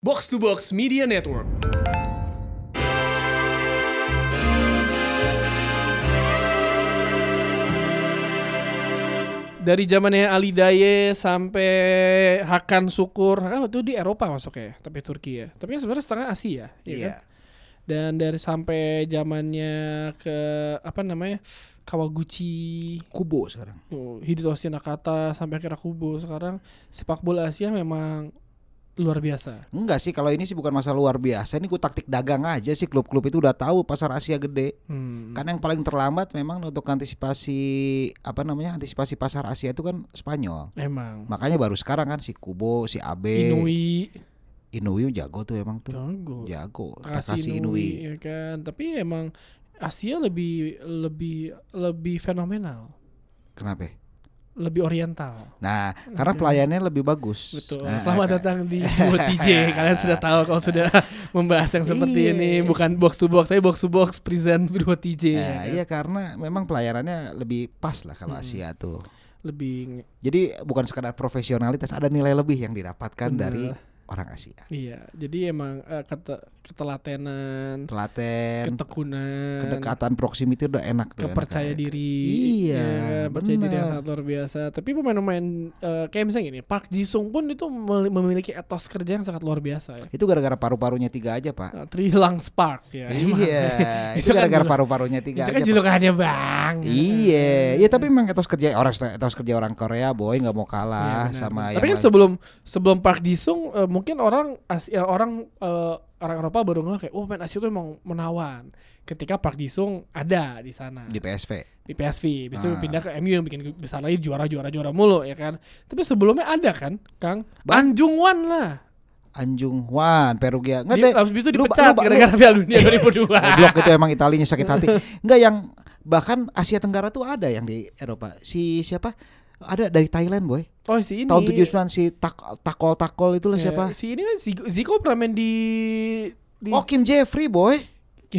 Box to Box Media Network. Dari zamannya Ali Daye sampai Hakan Sukur, Hakan itu di Eropa masuknya, ya, tapi Turki ya. Tapi kan sebenarnya setengah Asia, ya Iya. kan? Dan dari sampai zamannya ke apa namanya Kawaguchi, Kubo sekarang. oh, Hidetoshi Nakata sampai akhirnya Kubo sekarang sepak bola Asia memang luar biasa. Enggak sih, kalau ini sih bukan masalah luar biasa. Ini gue taktik dagang aja sih klub-klub itu udah tahu pasar Asia gede. Hmm. Karena yang paling terlambat memang untuk antisipasi apa namanya? antisipasi pasar Asia itu kan Spanyol. Emang. Makanya baru sekarang kan si Kubo, si Abe, Hmm. Inui Inui jago tuh emang tuh. jago. Jago. Takashi Takashi Ya, Inui. ya kan. Tapi emang Asia lebih lebih lebih fenomenal, Kenapa? ya? lebih oriental. Nah, karena pelayannya lebih bagus. Iya. Betul. Nah, Selamat kayak- datang di Ah, UTJ. Kalian sudah tahu kalau sudah membahas yang seperti Iya. ini bukan box to box, saya box to box present UTJ. ya Nah, kan? iya karena memang pelayarannya lebih pas lah Hmm. kalau Asia tuh. Lebih Jadi bukan sekadar profesionalitas, ada nilai lebih yang didapatkan Bener. dari orang Asia. iya. Jadi emang eh, kete- ketelatenan, Telaten, ketekunan, kedekatan proximity udah enak tuh. kepercaya enak aja. diri Iya, ya, percaya diri yang benar. sangat luar biasa tapi pemain-pemain eh, kayak misalnya gini Park Ji Sung pun itu mel- memiliki etos kerja yang sangat luar biasa ya Itu gara-gara paru-parunya tiga aja pak. Eh, Trilang Spark ya Iya, Itu itu kan gara-gara julukan- paru-parunya itu tiga kan aja. Pak. julukannya bang Iya, iya tapi memang etos kerja orang etos kerja orang Korea boy nggak mau Iya, kalah benar, sama benar. yang tapi kan lain. sebelum sebelum Park Ji Sung eh, mungkin orang As- ya, orang eh, orang Eropa baru ngeh kayak oh pemain Asia itu emang menawan ketika Park Ji Sung ada di sana di PSV. di PSV, bisa Ah. pindah ke MU yang bikin besar lagi juara juara juara mulu ya kan. Tapi sebelumnya ada kan, Kang Ba- Anjung Wan lah. Anjung Juan, Perugia. Nggak Dia deh. habis itu lu- dipecat lu- lu- gara-gara Piala Dunia 2002. Goblok itu emang Italinya sakit hati. Enggak yang bahkan Asia Tenggara tuh ada yang di Eropa. Si siapa? Ada dari Thailand, boy. oh si ini. Tahun 79 si tak, Takol Takol itulah Ya, siapa? Si ini kan Ziko, Ziko pernah main di di Oh, Kim Jeffrey, boy.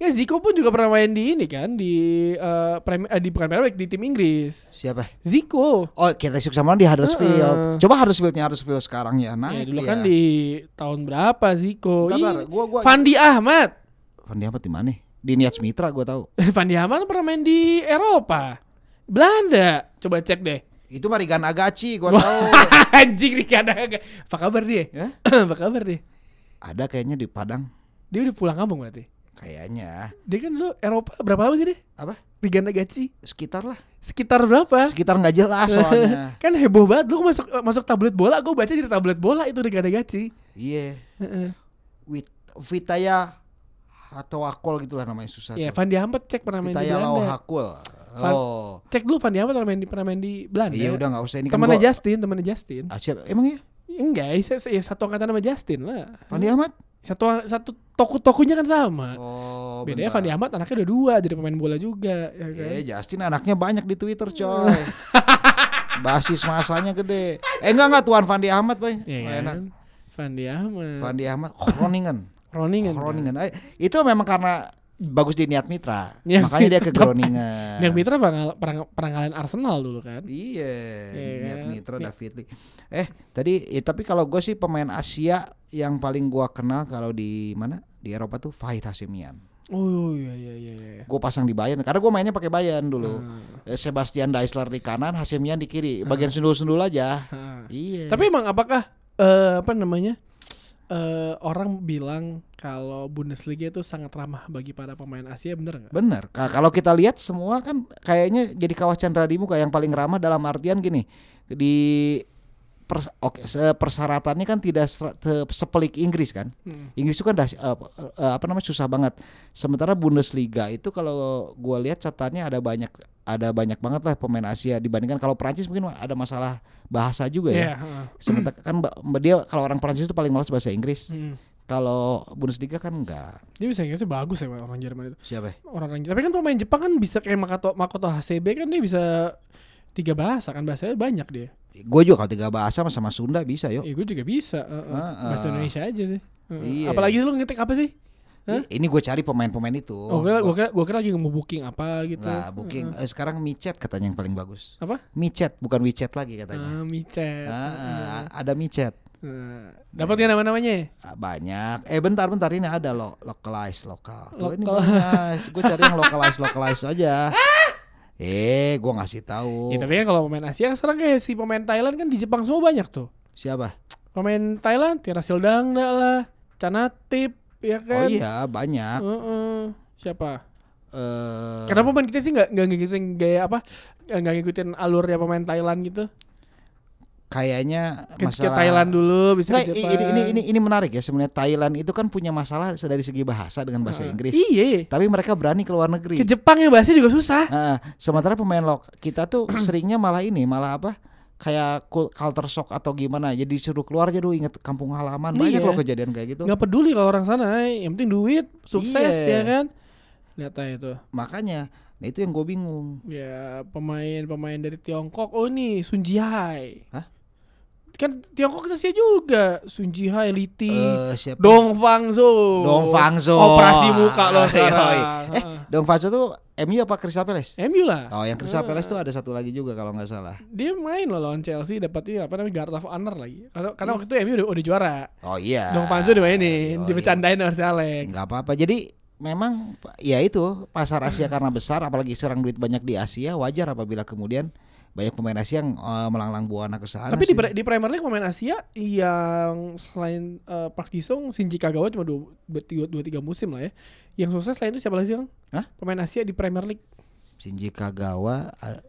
ya Ziko pun juga pernah main di ini kan di eh premi- eh, di bukan Premier League, di tim Inggris. Siapa? Ziko. Oh, kita sukses sama di Huddersfield. Heeh. Coba Huddersfieldnya Huddersfield sekarang ya. Nah, ya, dulu dia. kan di tahun berapa Ziko? Bentar, Ih, gua gua Fandi Ahmad. Fandi apa di mana? Di Niat Mitra gua tahu. Van Haman pernah main di Eropa. Belanda. Coba cek deh. Itu Marigan Agaci gua tahu. Anjing nih kadang Apa kabar dia? Ya? Apa kabar dia? Ada kayaknya di Padang Dia udah pulang kampung berarti. kayaknya. Dia kan dulu Eropa berapa lama sih dia? Apa? Liga Nagaci. Sekitar lah. Sekitar berapa? Sekitar nggak jelas soalnya. kan heboh banget lu masuk masuk tablet bola, gue baca di tablet bola itu Liga Nagaci. Iya. Heeh. Wit Vitaya atau Akol gitulah namanya susah. Ya, Van tuh. Haman cek pernah main di Vitaya Belanda. Lau Hakul. Van- Oh. Cek dulu Van Haman pernah main di pernah main di Belanda. Iya udah nggak usah ini kan Temannya gua- Justin, temannya Justin. Ah, siapa? Emang ya? Enggak, saya, saya satu angkatan sama Justin lah. Fandi Ahmad? Satu satu toko-tokonya kan sama. Oh, Bedanya bentar. Fandi Ahmad anaknya udah dua jadi pemain bola juga ya kan. Iya. Eh, Justin anaknya banyak di Twitter, coy. Basis masanya gede. Eh, enggak enggak Tuan Fandi Ahmad, Boy. Iya Oh, kan? enak. Fandi Ahmad. kan? Fandi Ahmad Groningen. Groningen. iya. Groningen. Eh, itu memang karena bagus di niat mitra. Ya, Makanya dia ke tetap. Groningen. Yang Mitra pernah, ngal- pernah, pernah ngalahin Arsenal dulu kan. Iya, Iya Niat kan? Mitra Ni- David Lee. Eh, tadi eh, tapi kalau gue sih pemain Asia yang paling gua kenal kalau di mana? Di Eropa tuh Fahid Hasimian. Oh iya iya iya iya. Gue pasang di Bayern karena gue mainnya pakai Bayern dulu. Ah, Eh, Sebastian Daisler di kanan, Hasimian di kiri. Bagian sundul-sundul aja. ah. Iya. Hmm. Tapi emang apakah eh, apa namanya? eh, orang bilang kalau Bundesliga itu sangat ramah bagi para pemain Asia bener nggak? Bener, Ka- kalau kita lihat semua kan kayaknya jadi kawah Chandra di muka yang paling ramah dalam artian gini di pers- oke se- persyaratannya kan tidak ser- te- sepelik Inggris kan Hmm. Inggris itu kan dah, eh, eh, apa namanya susah banget sementara Bundesliga itu kalau gua lihat catatannya ada banyak ada banyak banget lah pemain Asia dibandingkan kalau Prancis mungkin ada masalah bahasa juga ya Iya, heeh. sementara kan ba- dia kalau orang Prancis itu paling malas bahasa Inggris Hmm. kalau Bundesliga kan enggak Dia bisa Inggrisnya bagus ya orang Jerman itu. siapa orang-orang tapi kan pemain Jepang kan bisa kayak Makoto Makoto HCB kan dia bisa tiga bahasa kan bahasanya banyak dia. gue juga kalau tiga bahasa sama sama Sunda bisa yo Eh, gue juga bisa eh, eh. Ah, ah. bahasa Indonesia aja sih. Eh, eh. Iya. Apalagi lu ngetik apa sih? Hah? Ini gue cari pemain-pemain itu. Oh, gue kira, gue kira, gue kira lagi mau booking apa gitu. Nggak, booking. Eh, Eh, sekarang micet katanya yang paling bagus. Apa? Micet, bukan WeChat eh. lagi katanya. Ah, micet. Ah, Eh, eh. ah, ada micet. Nah, dapat nggak nama-namanya? Ah, banyak eh bentar bentar ini ada lo localize lokal Tuh, ini Lokal. banyak gue cari yang localize localize aja eh gue ngasih tahu Ya, tapi kan kalau pemain Asia sekarang kayak si pemain Thailand kan di Jepang semua banyak tuh. siapa Pemain Thailand, Tirasil Dangda lah, Canatip, ya oh kan? iya banyak Heeh. Siapa? eh Kenapa pemain kita sih nggak nggak ngikutin gaya apa? eh, Nggak ngikutin alurnya pemain Thailand gitu? kayaknya Ke, ke masalah Thailand dulu, bisa Nggak, ke i- Jepang. ini, ini ini ini menarik ya sebenarnya Thailand itu kan punya masalah dari segi bahasa dengan bahasa Heeh. Inggris Iya. tapi mereka berani ke luar Ke negeri Jepang ya bahasanya juga susah. Ah, sementara pemain lok kita tuh seringnya malah ini malah apa kayak kul- culture shock atau gimana jadi suruh keluar aja dulu inget kampung halaman banyak Iya. loh kejadian kayak gitu nggak peduli kalau orang sana, eh, yang penting duit, sukses Iya. ya kan? Lihat aja tuh. makanya nah itu yang gue bingung Ya pemain-pemain dari Tiongkok. Oh nih Sun Jihai. Hah? Kan Tiongkok Asia juga. Sun Jihai, Liti, Eh, siapa Dong Fangso. Dong Fangso. Operasi muka lo Yoi. sekarang. Eh, Dong Fangso tuh MU apa Crystal Palace Heeh. MU lah. oh yang Crystal Ah. Palace tuh ada satu lagi juga kalau nggak salah Dia main loh lawan Chelsea dapat ini apa namanya Guard of Honor lagi. Karena, karena waktu itu MU udah, udah juara. oh iya Oh, Dong Fangso dimainin, Hmm. Yoi. dibecandain sama si Alex. Eh, nggak apa-apa jadi memang ya itu pasar Asia karena besar apalagi serang duit banyak di Asia wajar apabila kemudian banyak pemain Asia yang eh, melanglang buana ke sana Tapi di, sih. pre- di Premier League pemain Asia yang selain eh, Park Ji Sung, Shinji Kagawa cuma 2 3 musim lah ya. Yang sukses selain itu siapa lagi sih, Kang? Hah? Pemain Asia di Premier League. Shinji Kagawa eh,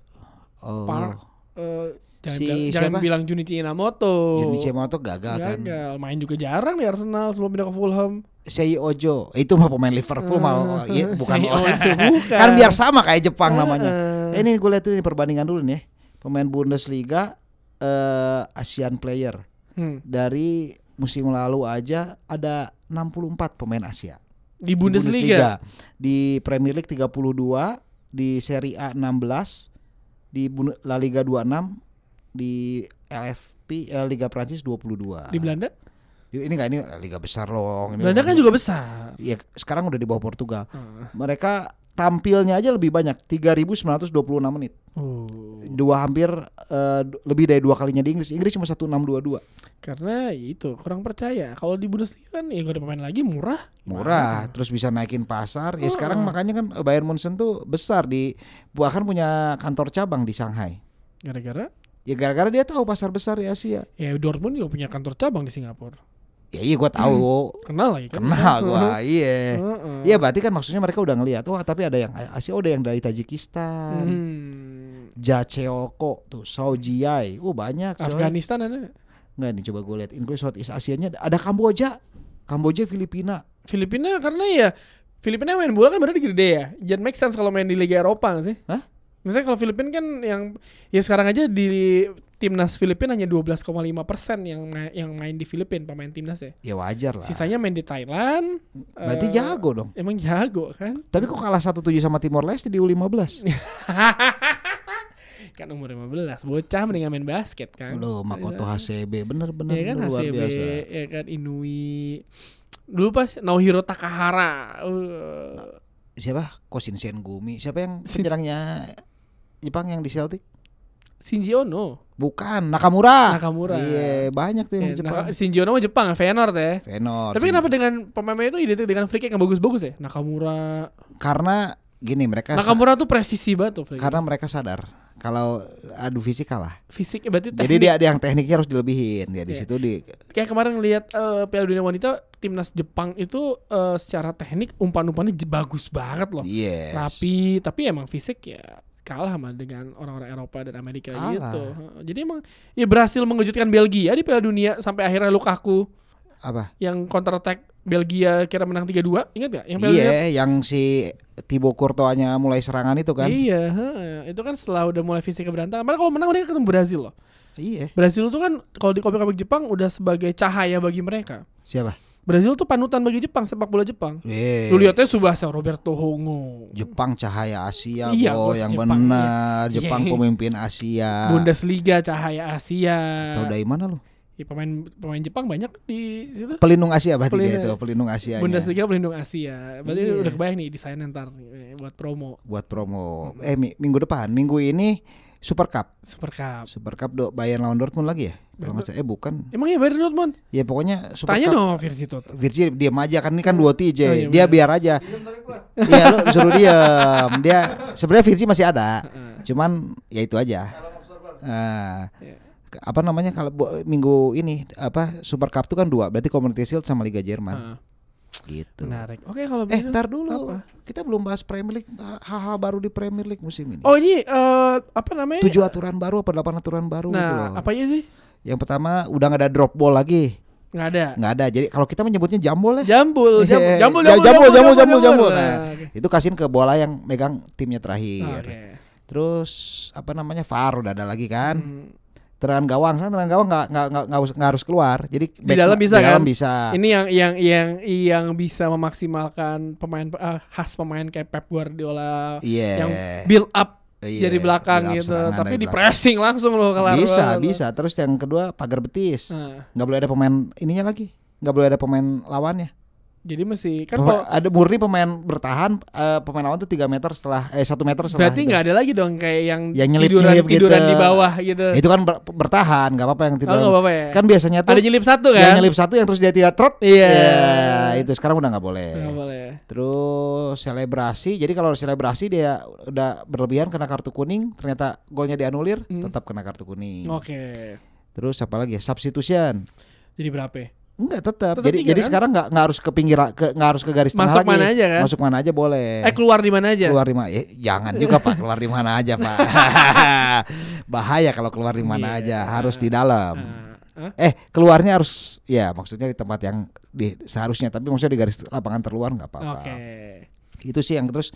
oh Park. Eh, jangan, Si bilang, jangan siapa? bilang Junichi Inamoto. Junichi Yamamoto gagal, kan Gagal. Main juga jarang di Arsenal sebelum pindah ke Fulham. Sei Ojo itu mah pemain Liverpool malah Eh, ya, bukan Sei Ojo, bukan. kan biar sama kayak Jepang namanya Eh, Eh, ini gue lihat ini perbandingan dulu nih pemain Bundesliga eh Asian player hmm. dari musim lalu aja ada 64 pemain Asia Di Di Bundesliga. Bundesliga. Di Premier League 32, di Serie A 16, di Bun- La Liga 26, di LFP eh, Liga Prancis 22. Di Belanda? Ini enggak ini liga besar loh. Ini Belanda kan juga besar. Ya, sekarang udah di bawah Portugal. Ah. Mereka tampilnya aja lebih banyak 3926 menit. Oh. Dua hampir eh, du- lebih dari dua kalinya di Inggris. Inggris cuma 1622. Karena ya itu kurang percaya. Kalau di Bundesliga kan ya gak ada pemain lagi murah. murah terus bisa naikin pasar ya Oh. sekarang makanya kan Bayern Munchen tuh besar di bahkan punya kantor cabang di Shanghai Gara-gara ya gara-gara dia tahu pasar besar di Asia ya Dortmund juga punya kantor cabang di Singapura. ya iya gua tahu Kenal lagi kan? kenal gua iya Heeh. Iya berarti kan maksudnya mereka udah ngelihat wah tapi ada yang Asia udah yang dari Tajikistan Hmm. Jaceoko tuh Saojiai uh banyak coy. Afghanistan ada. nggak nih coba gue lihat include Southeast Asianya ada Kamboja Kamboja Filipina Filipina karena ya Filipina main bola kan berarti gede ya. Jangan make sense kalau main di Liga Eropa nggak sih. Hah? Misalnya kalau Filipina kan yang ya sekarang aja di timnas Filipina hanya 12,5% yang ma- yang main di Filipina pemain timnas ya. ya wajar lah Sisanya main di Thailand. berarti eh, jago dong Emang jago kan? tapi kok kalah 1-7 sama Timor Leste di U15 Iya. Kan umur 15, bocah mendingan main basket kan. Lo Makoto Iya. HCB bener-bener ya kan luar HCB, biasa. ya kan Inui. Dulu pas Naohiro Takahara. Uh, Siapa? Kosinsen Gumi. Siapa yang penyerangnya Jepang yang di Celtic? Shinji Ono. Bukan Nakamura. Nakamura. Iya, banyak tuh yang Ya, di Jepang. Naka- Shinji Ono mah Jepang, Feyenoord ya. Fenor. Tapi kenapa dengan pemain-pemain itu identik dengan free kick yang bagus-bagus ya? Nakamura. Karena gini mereka sa- Nakamura tuh presisi banget tuh ya? free kick. karena mereka sadar kalau adu fisik kalah. Fisik eh, berarti Jadi teknik. dia ada yang tekniknya harus dilebihin. Ya di Iya. situ di Kayak kemarin ngelihat eh, Piala Dunia Wanita timnas Jepang itu eh, secara teknik umpan-umpannya j- bagus banget loh. Yes. Rapi, tapi emang fisik ya kalah sama dengan orang-orang Eropa dan Amerika Kalah. gitu. Heeh. Jadi emang ya berhasil mengejutkan Belgia di Piala Dunia sampai akhirnya Lukaku Apa? yang counter attack Belgia kira menang 3-2, ingat gak? Yang Piala Dunia Iya, yang si Thibaut Courtois-nya mulai serangan itu kan. Iya, heeh. itu kan setelah udah mulai fisik keberantakan. Malah kalau menang mereka ketemu Brazil loh. Iya. Brazil tuh kan kalau di komik-komik Jepang udah sebagai cahaya bagi mereka. Siapa? Brazil tuh panutan bagi Jepang sepak bola Jepang. Eh. Lu lihatnya Subasa Roberto Hongo. Jepang cahaya Asia Iya, boh, bos, yang Jepang, benar Jepang Iya. pemimpin Asia Bundesliga cahaya Asia. tahu dari mana lu Ya, pemain pemain Jepang banyak di situ. pelindung Asia berarti Pelindung- dia itu pelindung Asia Bundesliga pelindung Asia. Berarti Iya. udah kebayang nih desain ntar eh, buat promo buat promo eh mi- minggu depan minggu ini Super Cup Super Cup. Super Cup do Bayern lawan Dortmund lagi ya Kalau nggak salah- eh bukan. Emang ya Bayern Dortmund? Ya pokoknya Super Tanya Cup- dong Virsi Tut. Virgil diam aja kan ini kan dua TJ. Oh, iya, dia benar. biar aja. Iya lu suruh diam. Dia sebenarnya Virgil masih ada. Cuman ya itu aja. Eh, Iya. ke- apa namanya kalau bu- minggu ini apa Super Cup tuh kan dua berarti Community Shield sama Liga Jerman Heeh, gitu. Ah, menarik. Oke kalau Kan, Eh, begitu. ntar dulu. Apa? Kita belum bahas Premier League hal-hal baru di Premier League musim ini. Oh ini eh, apa namanya? Tujuh aturan baru apa delapan aturan baru gitu loh. Nah, apanya sih? Yang pertama udah nggak ada drop ball lagi. Nggak ada. Nggak ada. Jadi kalau kita menyebutnya jambol ya. Jambul, jambul, Iya, jambul, jam- jambul, jambul, jambul, jambul, jambul. Nah, Nah, itu kasihin ke bola yang megang timnya terakhir. oke. Terus apa namanya VAR udah ada lagi kan? Hmm, Terangan gawang, kan terangan gawang nggak nggak nggak nggak us- nggak harus keluar. Jadi back- dalam bisa di dalam kan? bisa. Ini yang yang yang yang bisa memaksimalkan pemain ah, khas pemain kayak Pep Guardiola Iya. yang build up Iya, jadi belakang build up gitu, serangan tapi dari di belakang. pressing langsung loh kelar. Bisa Wah, bisa. Terus yang kedua pagar betis. Nah, Nggak boleh ada pemain ininya lagi. Nggak boleh ada pemain lawannya. jadi mesti kan Pema- kalau ada murni pemain bertahan, eh, pemain lawan tuh 3 meter setelah eh 1 meter setelah. berarti itu. nggak ada lagi dong kayak yang, Yang nyelip- tiduran nyelip gitu. tiduran di bawah gitu. Itu kan ber- bertahan, nggak apa-apa yang Oh, nggak tidur. apa-apa ya. Kan biasanya tuh ada nyelip satu Yang kan? nyelip satu yang terus dia tidak trot. Iya. Ya, itu sekarang udah nggak boleh. Nggak boleh. Terus selebrasi. Jadi kalau selebrasi dia udah berlebihan kena kartu kuning, ternyata golnya dianulir, Hmm. tetap kena kartu kuning. Oke. Terus apa lagi? ya? Substitution. Jadi berapa? ya? Enggak, tetap. Tetap Jadi tiga, jadi kan? sekarang nggak nggak harus ke pinggir ke nggak harus ke garis tengah Masuk lagi. mana aja kan? Masuk mana aja boleh. Eh keluar di mana aja? keluar di mana? Eh, jangan juga Pak, keluar di mana aja, Pak. Bahaya kalau keluar di mana Iya. aja, harus di dalam. Ah, ah. Eh keluarnya harus ya maksudnya di tempat yang di, seharusnya tapi maksudnya di garis lapangan terluar nggak apa-apa. Oke. Itu sih yang terus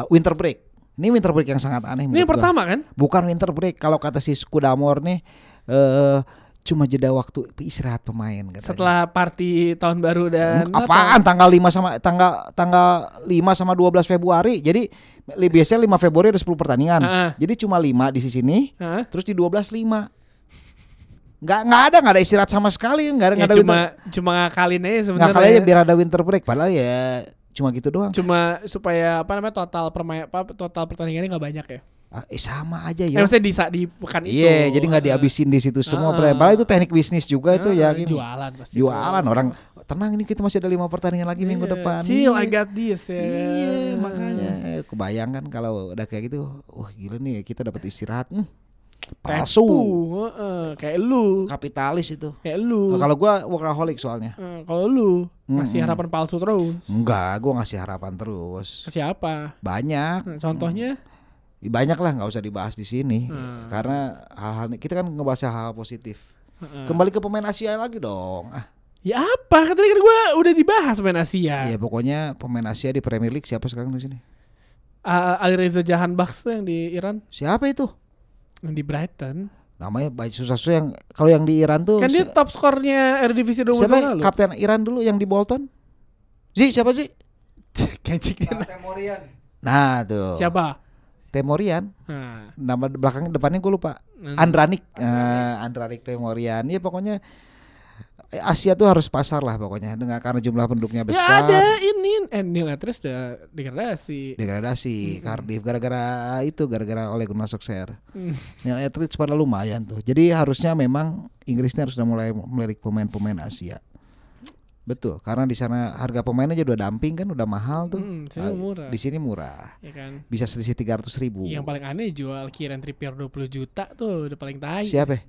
uh, winter break. Ini winter break yang sangat Ini aneh. menurut yang gua. pertama kan? Bukan winter break kalau kata si Skudamor nih eh cuma jeda waktu istirahat pemain. Katanya. Setelah party tahun baru dan Hmm, apaan tanggal 5 sama tanggal tanggal 5 sama 12 Februari. Jadi li- biasanya 5 Februari ada 10 pertandingan. Heeh. Jadi cuma 5 di sisi sini, Heeh. terus di 12 5. Nggak nggak ada nggak ada istirahat sama sekali, nggak ada Ya, nggak ada cuma cuma ngakalin aja Nggak sebenarnya. ya. kali aja biar ada winter break padahal ya cuma gitu doang. Cuma supaya apa namanya total permain apa total pertandingannya nggak banyak ya. Ah, eh sama aja Eh, ya. maksudnya di saat di pekan itu. Iya, jadi nggak Ah, dihabisin di situ semua. Ah. Padahal itu teknik bisnis juga itu ah, ya. gini. Jualan pasti. Jualan orang tenang ini kita masih ada lima pertandingan lagi minggu Iya, depan. Chill, I Iya. got this ya. Iya makanya Eh, kebayangkan kalau udah kayak gitu, wah gila nih kita dapat istirahat. Hmm, Palsu. palsu, kayak lu. kapitalis itu. Kayak lu. Oh, Kalau gua workaholic soalnya. Eh, Kalau lu masih Mm-mm. harapan palsu terus. Enggak, gua ngasih harapan terus. Ke siapa? Banyak, Nah, Contohnya? banyak lah nggak usah dibahas di sini. Hmm. Karena hal-hal ini- kita kan ngebahas hal-hal positif. Heeh. Kembali ke pemain Asia lagi dong. Ah, Ya apa? Kan tadi kan gue udah dibahas main Asia. ya pokoknya pemain Asia di Premier League siapa sekarang di sini? Ah, Alireza Jahanbakhsh tuh yang di Iran, Siapa itu? yang di Brighton. Namanya baik susah-susah yang kalau yang di Iran tuh Kan dia si- top skornya Eredivisie 20 siapa ya? tahun lalu. kapten Iran dulu yang di Bolton? Zi, siapa sih? Kancik dia. Nah tuh Siapa? Temorian Nah, Nama de- belakang depannya gue lupa Hmm. Andranik Eh, Andranik Temorian Ya pokoknya eh, Asia tuh harus pasar lah pokoknya dengan karena jumlah penduduknya ya besar ada ini eh, Neil Atris udah degradasi. degradasi Cardiff gara-gara itu gara-gara oleh Gunnar Solskjaer Ya, Hmm. Neil Etheridge pada lumayan tuh jadi harusnya memang Inggrisnya harus udah mulai melirik pemain-pemain Asia betul karena di sana harga pemain aja udah dumping kan udah mahal tuh Mm, sini Nah, murah. Iya, di Oh. sini murah Ya kan. bisa selisih 300 ribu Yang paling aneh jual Kieran Trippier 20 juta tuh udah paling tai. siapa ya?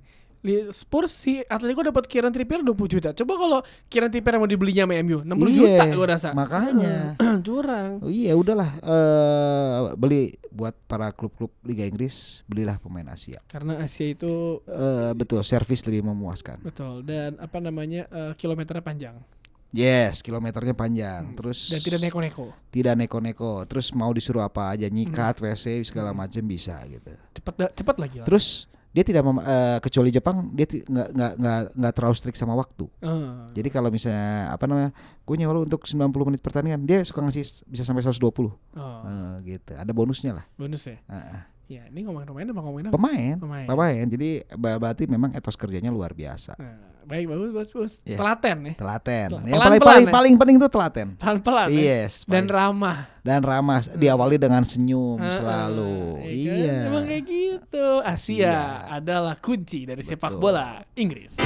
Li- Spurs si Atletico dapat Kieran Trippier 20 juta. Coba kalau Kieran Trippier yang mau dibelinya sama MU 60 juta Iya, gua rasa. makanya. curang. Oh iya udahlah eh beli buat para klub-klub Liga Inggris belilah pemain Asia. Karena Asia itu Eh betul, servis lebih memuaskan. betul dan apa namanya eh, kilometernya panjang Yes, kilometernya panjang. Terus Hmm. dan tidak neko-neko. tidak neko-neko. Terus mau disuruh apa aja Hmm. nyikat, WC segala macam bisa gitu. Cepat da- cepat lagi lah. Terus dia tidak mem- eh, kecuali Jepang dia ti- nggak nggak nggak nggak terlalu strict sama waktu. Eh, Jadi kalau misalnya apa namanya, gue nyewa lu untuk 90 menit pertandingan, dia suka ngasih s- bisa sampai 120 oh, Eh, gitu. Ada bonusnya lah. bonus ya. Heeh. Ya, ini ngomongin pemain apa ngomongin apa? Pemain, Pemain. pemain. Jadi ber- berarti memang etos kerjanya luar biasa. Nah, baik bagus bagus bagus. Iya. Telaten ya. Telaten. Pel- Yang pelan-pelan paling paling, ya. paling penting itu telaten. Pelan-pelan. ya. Yes. Dan paling- ramah. dan ramah diawali dengan senyum Hmm. Heeh, selalu. ya kan? Iya. Emang kayak gitu. Asia Iya. adalah kunci dari sepak Betul. bola Inggris.